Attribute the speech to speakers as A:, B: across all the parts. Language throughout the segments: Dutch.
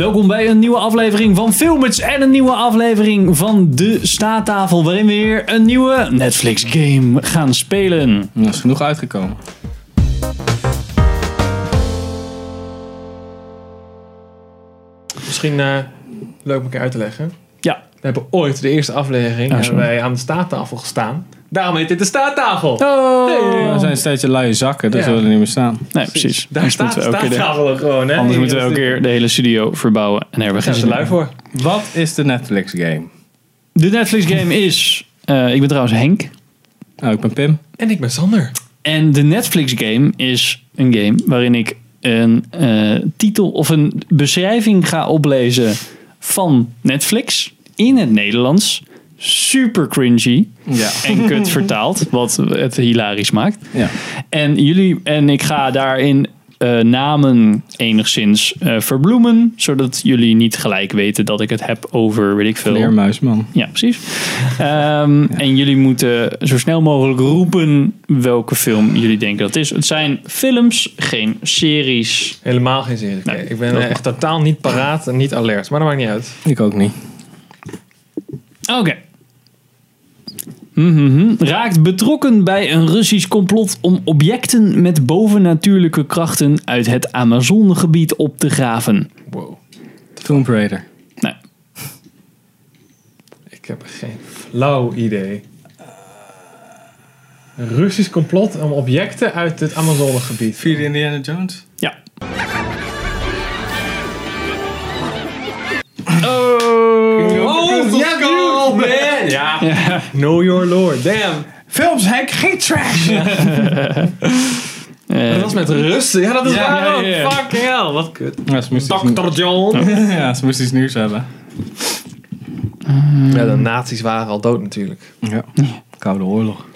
A: Welkom bij een nieuwe aflevering van Filmits en een nieuwe aflevering van De Staattafel, waarin we weer een nieuwe Netflix game gaan spelen.
B: Dat is genoeg uitgekomen.
C: Misschien eh, leuk om een keer uit te leggen.
A: Ja.
C: We hebben ooit de eerste aflevering
A: Ah,
C: hebben
A: sorry. Oh,
C: wij aan de staattafel gestaan. Daarom heet dit de staattafel.
B: We zijn steeds een luie zakken, dus
C: Ja.
B: we willen niet meer staan.
A: Nee, precies.
C: Daar staat de
A: moeten we elke keer de-
C: staattafel ook gewoon. Hè?
A: anders
C: Ja,
A: moeten we
C: dat
A: elke
C: is-
A: keer de hele studio verbouwen en daar hebben we
C: Daar
A: geen
C: zijn ze
A: zin
C: lui
A: in.
C: voor.
B: Wat is de Netflix game?
A: De Netflix game is, eh, ik ben trouwens Henk,
B: Nou, ik ben Pim.
C: En ik ben Sander.
A: en de Netflix game is een game waarin ik een eh, titel of een beschrijving ga oplezen van Netflix in het Nederlands. Super cringy.
B: Ja.
A: en kut vertaald, wat het hilarisch maakt.
B: ja.
A: En jullie en ik ga daarin eh, namen enigszins eh, verbloemen, zodat jullie niet gelijk weten dat ik het heb over, weet ik veel.
B: Leermuisman.
A: Ja, precies. Ehm, En jullie moeten zo snel mogelijk roepen welke film jullie denken dat het is. Het zijn films, geen series.
C: Helemaal geen zin.
A: Nee,
C: ik ben
A: dat
C: eh, echt totaal niet paraat en niet alert. Maar dat maakt niet uit.
B: Ik ook niet.
A: Oké. Mhm. Raakt betrokken bij een Russisch complot om objecten met bovennatuurlijke krachten uit het Amazonegebied op te graven.
C: Wow.
B: Tomb Raider.
A: Nou,
C: Ik heb geen flauw idee. Een Russisch complot om objecten uit het Amazonegebied.
B: Vierde Indiana Jones.
A: ja. Oh.
C: Oh, yeah, dude, man! Ja. Know your lord. Damn.
B: Films, Henk, geen trash!
A: Eh,
C: Dat was met Russen. Ja, dat is
B: Ja,
C: waar.
B: ja,
C: ook.
B: ja.
C: Fucking hell. Wat kut.
B: Ja, ze moest iets,
C: Dr. John.
B: ja, ze moest iets nieuws hebben.
C: Ja, de nazi's waren al dood natuurlijk.
B: Ja. Koude oorlog.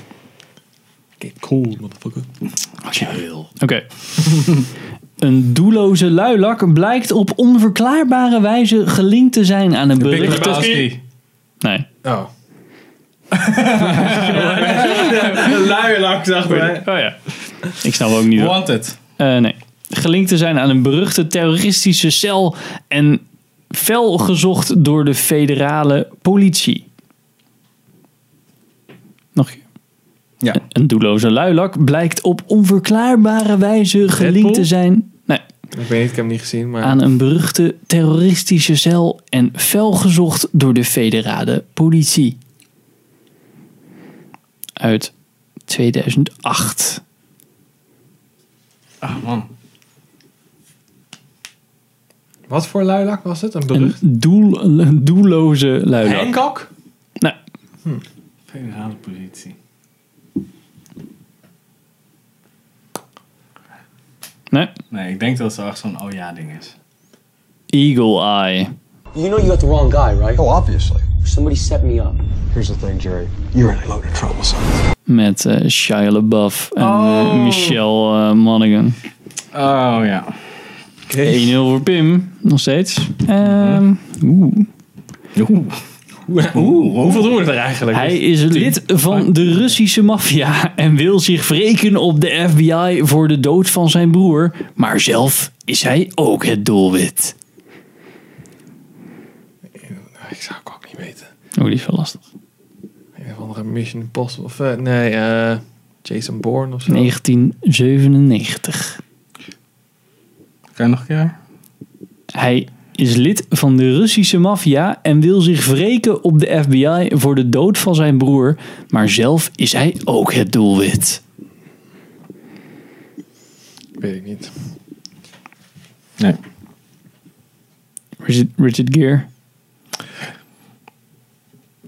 C: Cool, motherfucker.
A: Als je wil. Oké. Een doelloze luilak blijkt op onverklaarbare wijze gelinkt te zijn aan een
B: Big
A: bericht.
B: Lebowski.
A: Nee.
C: Oh. de luierlak dachten wij.
A: Oh ja. Ik snap ook niet. hoor.
B: Wanted.
A: Eh, nee. Gelinkt te zijn aan een beruchte terroristische cel en fel gezocht door de federale politie. Nog een keer.
B: Ja.
A: Een doelloze luilak blijkt op onverklaarbare wijze gelinkt te
C: Bull?
A: zijn nee,
C: Ik weet niet, ik heb hem niet gezien, maar...
A: aan een beruchte terroristische cel en fel gezocht door de federale politie. Uit 2008.
B: Ah, man.
C: Wat voor luierlak was het? Een
A: Een
C: berucht?
A: doel, een doelloze luilak.
C: Hancock?
A: Nee.
B: Federale politie.
A: nee.
B: Nee, ik denk dat ze echt zo'n oh ja ding is.
A: Eagle Eye.
D: You know you got the wrong guy, right?
E: Oh, obviously.
D: Somebody set me up.
E: Here's the thing, Jerry. You're in a load of trouble, son.
A: Met eh, Shia LaBeouf en eh, Michelle eh, Monaghan. 1-0
B: Oh ja.
A: voor Pim, nog steeds. Ehm, oeh.
B: Oeh.
C: Oeh, hoeveel doen we er eigenlijk?
A: Hij is lid van de Russische maffia en wil zich wreken op de FBI voor de dood van zijn broer. Maar zelf is hij ook het doelwit.
C: Ik zou het ook niet weten.
A: Oh, die is wel lastig.
C: Een of andere Mission Impossible. Of, eh, nee, eh, Jason Bourne of zo.
A: 1997.
B: Kan je nog een keer?
A: Hij is lid van de Russische maffia en wil zich wreken op de FBI voor de dood van zijn broer. Maar zelf is hij ook het doelwit.
C: Weet ik niet.
B: Nee.
A: Richard, Richard Gere.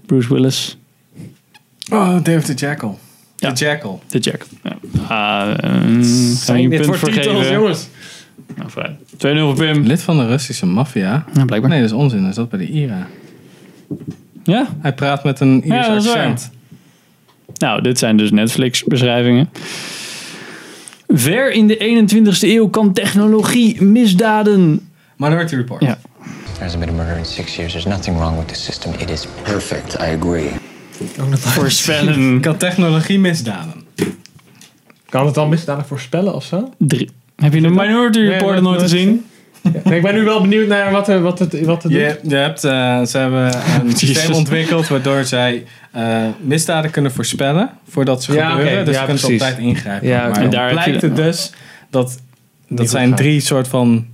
A: Bruce Willis.
B: Oh, David the Jackal.
A: Ja.
B: The Jackal.
A: De Jack. Ja. Ah, ehm, ga je een punt voor geven?
C: jongens.
A: Nou, fijn. 2-0 voor Pim.
B: Lid van de Russische maffia.
A: Ja, blijkbaar.
B: Nee, dat is onzin. Dat zat bij de Ira.
A: Ja?
B: Hij praat met een Iers
A: dat is waar.
B: accent.
A: Nou, dit zijn dus Netflix-beschrijvingen. Ver in de 21ste eeuw kan technologie misdaden.
B: Minority Report.
A: Ja.
E: There hasn't been a murder in six years. There's nothing wrong with the system. It is perfect. I agree.
C: Ook nog nooit.
A: Voorspellen.
B: Kan technologie misdaden?
C: Kan het dan misdadig voorspellen of zo?
A: Drie. Heb je de Minority Report nooit
C: dat nooit
A: gezien?
C: Nee, ik ben nu wel benieuwd naar wat, er- wat het, wat het
B: Je, je hebt, eh, ze hebben een systeem
A: Jezus.
B: ontwikkeld waardoor zij eh, misdaden kunnen voorspellen voordat ze
C: Ja,
B: gebeuren.
C: oké,
B: dus
C: ja,
B: je kunt
C: precies.
B: op tijd ingrijpen.
C: Ja, oké.
B: maar
A: En
B: daar
A: daar heb
B: blijkt
A: je-
B: het dus dat dat
C: goed
B: zijn
C: gaat.
B: drie soort van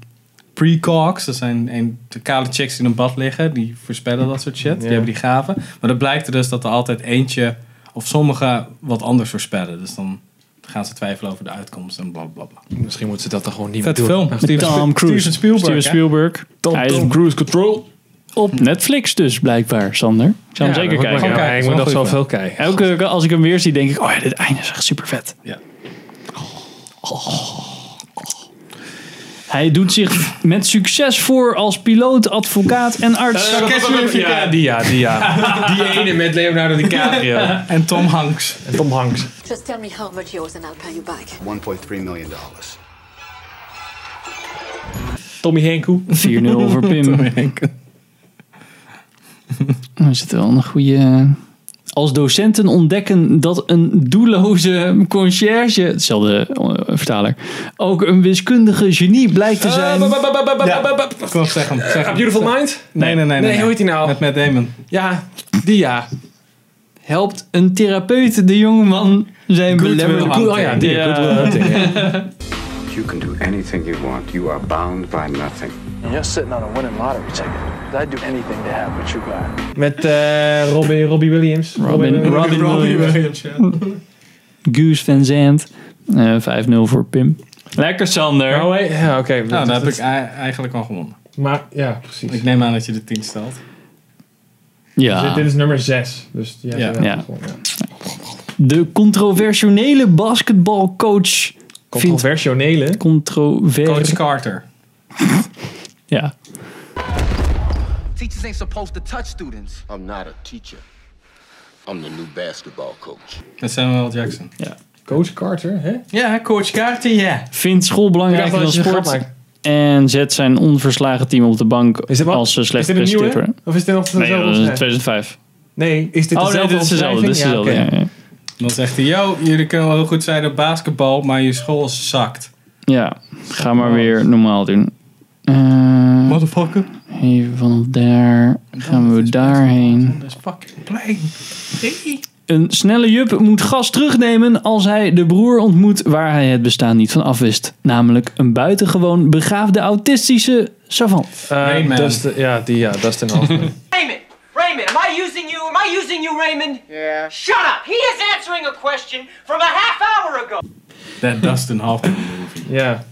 B: precogs. Dat zijn een, de kale chicks die in een bad liggen. Die voorspellen dat soort shit.
C: Ja.
B: Die hebben die gaven. Maar dan blijkt er dus dat er altijd eentje of sommigen wat anders voorspellen. Dus dan gaan ze twijfelen over de uitkomst en bla bla bla.
C: doet. Misschien moeten ze dat dan gewoon niet
B: Vet
C: meer doen.
B: film. Steven,
A: Tom Cruise.
B: Steven Spielberg.
A: Steven
B: hè?
A: Spielberg. Hij is
C: Cruise Control.
A: op Netflix dus, blijkbaar, Sander. Ik zou hem zeker kijken.
B: Gewoon kijken,
C: ik
B: is wel
C: moet nog
B: een goeie
C: zoveel kijken.
A: Elke keer als ik hem weer zie, denk ik, oh ja, dit einde is echt super vet.
B: Ja.
A: Hij doet zich met succes voor als piloot, advocaat en
C: Eh,
A: arts.
C: Ja, die ja, die ja. Die ene met Leonardo DiCaprio.
B: En Tom Hanks.
C: En Tom Hanks.
F: Just tell me how much yours and I'll pay you back.
G: $1.3 million. dollars.
C: Tommy Henkoe.
A: 4-0 voor Pim. Er zit wel een goede. Als docenten ontdekken dat een doelloze conciërge, hetzelfde eh, vertaler, ook een wiskundige genie blijkt te
C: ehm,
A: zijn.
B: Eh, Kom, zeg hem. Zeg hem.
C: Beautiful Mind?
B: Nee, nee, nee.
C: Nee, hoe heet die nou?
B: Met Matt Damon.
C: Ja, die ja.
A: helpt een therapeut de jongeman zijn
B: Goodwill
A: belemmerde
B: hunting.
A: Oh ja, die-
C: Ja.
A: goodwill hunting, ja.
H: You can do anything you want. You are bound by nothing.
I: You're sitting on a winning lottery ticket. I'd do anything to have what you got.
C: Met eh Robbie, Robbie Williams.
A: Robin, Robin Williams.
B: Nou,
A: Guus van Zandt. Eh, 5-0 voor Pim. Lekker Sander.
C: Oh, hey, ja, oké.
B: Nou, dan heb ik ei- eigenlijk al gewonnen.
C: Maar ja, precies.
B: Ik neem aan dat je de 10 stelt.
A: ja.
C: is nummer 6. Dus ja,
B: Ja.
C: ja.
A: Ja. De controversionele basketbalcoach vindt
C: Controversionele.
B: Coach
A: controversie.
B: Carter.
A: Ja.
J: Teachers ain't supposed to touch students.
G: I'm not a teacher. I'm the new basketball coach.
B: Met Samuel L. Jackson.
C: Coach Carter, hè?
B: Ja, Coach Carter, ja.
A: Vindt school belangrijker dan sport. En zet zijn onverslagen team op de bank
C: Is dit wat?
A: als ze
C: Is
A: slecht
C: dit een nieuwe?
A: presteren.
C: Of is dit nog
A: Nee, joh, dat is
C: dezelfde?
A: 2005.
C: nee, is dit
A: Oh nee,
C: dezelfde?
A: dit is dezelfde. Dit is
C: omschrijving?
A: dezelfde,
C: Ja, oké.
A: ja, ja.
B: Dan zegt hij, yo, jullie kunnen wel heel goed zijn op basketbal, maar je school zakt.
A: Ja, ga maar weer normaal doen. Eh,
B: Motherfucker.
A: even vanaf daar gaan we daarheen.
B: Dat is fucking play.
A: Een snelle jup moet gas terugnemen als hij de broer ontmoet waar hij het bestaan niet van afwist. Namelijk een buitengewoon begaafde autistische savant.
C: Eh,
B: Rain Man.
C: Dustin- ja, die ja, Dustin Hoffman.
J: Raymond! Raymond, am I using you? Am I using you, Raymond? Yeah. Shut up! He is answering a question from a half hour ago!
B: That Dustin Hoffman.
C: ja.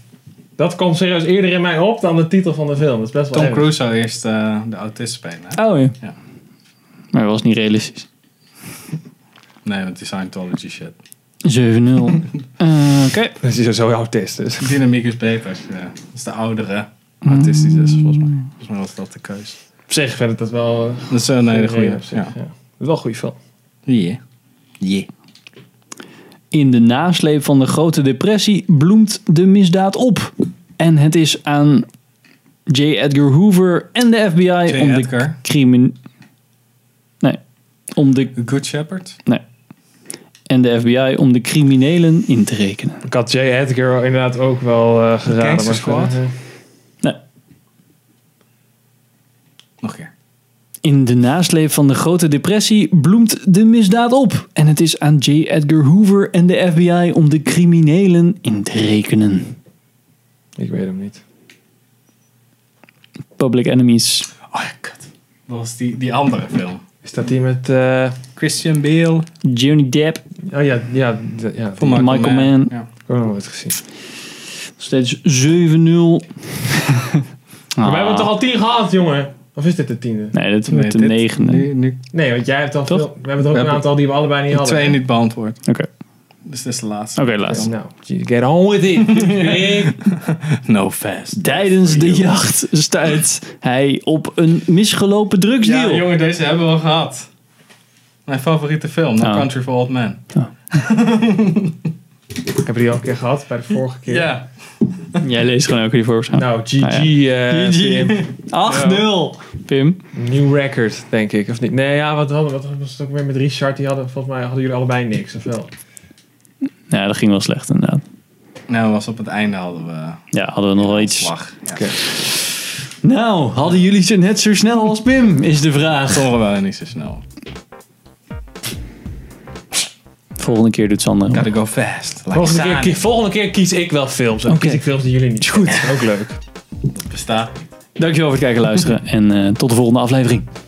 C: Dat komt serieus eerder in mij op dan de titel van de film. Dat is best wel
B: Tom
C: erg.
B: Cruise zou eerst eh, de autist spelen. hè?
A: Oh ja.
B: Ja.
A: Maar dat was niet realistisch. 7-0.
B: Nee, want die Scientology shit.
A: Eh, Oké.
C: Dat is zo autist. Dus.
B: Dynamiek is beter. Ja. Dat is de oudere autistisch is, volgens mij. Volgens mij was dat de keus.
C: Op zich vind ik dat wel... eh,
B: Dat is een hele goede.
C: op zich,
B: Ja.
C: ja. Wel een goede film.
B: Yeah. Yeah.
A: In de nasleep van de grote depressie bloemt de misdaad op. En het is aan J. Edgar Hoover en de FBI om de
B: Edgar.
A: crimin... Nee. Om de...
B: Good Shepherd.
A: Nee. En de FBI om de criminelen in te rekenen.
C: Ik had J. Edgar inderdaad ook wel eh geraden.
B: Gangster
C: maar-
B: Squad?
C: eh,
A: Nee.
B: Nog een keer.
A: In de nasleep van de grote depressie bloemt de misdaad op. En het is aan J. Edgar Hoover en de FBI om de criminelen in te rekenen.
C: Ik weet hem niet.
A: Public Enemies.
B: Oh ja, kut. Dat was die, die andere film.
C: Is dat die met... eh,
B: Christian Bale.
A: Johnny Depp.
C: oh ja, ja, d- ja.
B: Van
C: Van
B: Michael,
A: Michael
B: Mann.
A: Mann.
B: Ja.
C: Ik heb nog nooit gezien.
A: Steeds 7-0. We
C: Maar
A: Ah.
C: we hebben toch al tien gehad, jongen? Of is dit de tiende?
A: Nee, dat is
B: Nee,
A: met de
B: dit-
A: negende.
B: Nu, nu
C: Nee, want jij hebt al
A: Toch?
C: veel... We hebben toch ook
B: hebben
C: een aantal die we allebei niet hadden.
B: twee niet beantwoord.
A: Oké,
B: Dus dit is de laatste.
A: oké, laatst.
C: Nou, get on with it.
B: No fast.
A: Tijdens de jacht stuit hij op een misgelopen
B: Ja,
A: drugsdeal.
B: jongen, deze hebben we al gehad. Mijn favoriete film, No
A: Oh.
B: Country for Old Men.
C: Hebben we die al een keer gehad bij de vorige keer?
B: Ja.
A: Jij leest gewoon elke keer voor.
C: Nou, GG.
A: Ah,
C: eh,
A: GG.
C: Pim. nou.
A: 8-0. Pim.
C: New record, denk ik. Of niet? Nee, ja, wat, hadden, wat was het ook weer met Richard? Die hadden, volgens mij hadden jullie allebei niks, of wel?
A: Ja, dat ging wel slecht inderdaad.
B: Nou, was op het einde hadden we
A: Ja, hadden we nog wel iets.
B: slag. Ja.
A: Nou, hadden jullie ze net zo snel als Pim, is de vraag.
B: Sommigen waren niet zo snel.
A: Volgende keer doet Sander.
B: Gotta go fast. Like
C: Volgende keer,
B: Sonic.
C: kie- volgende keer kies ik wel films. En
A: Oké.
C: kies ik films die jullie niet. Is goed. Ook leuk.
B: Bestaat.
A: Dankjewel voor het kijken en luisteren. En eh, tot de volgende aflevering.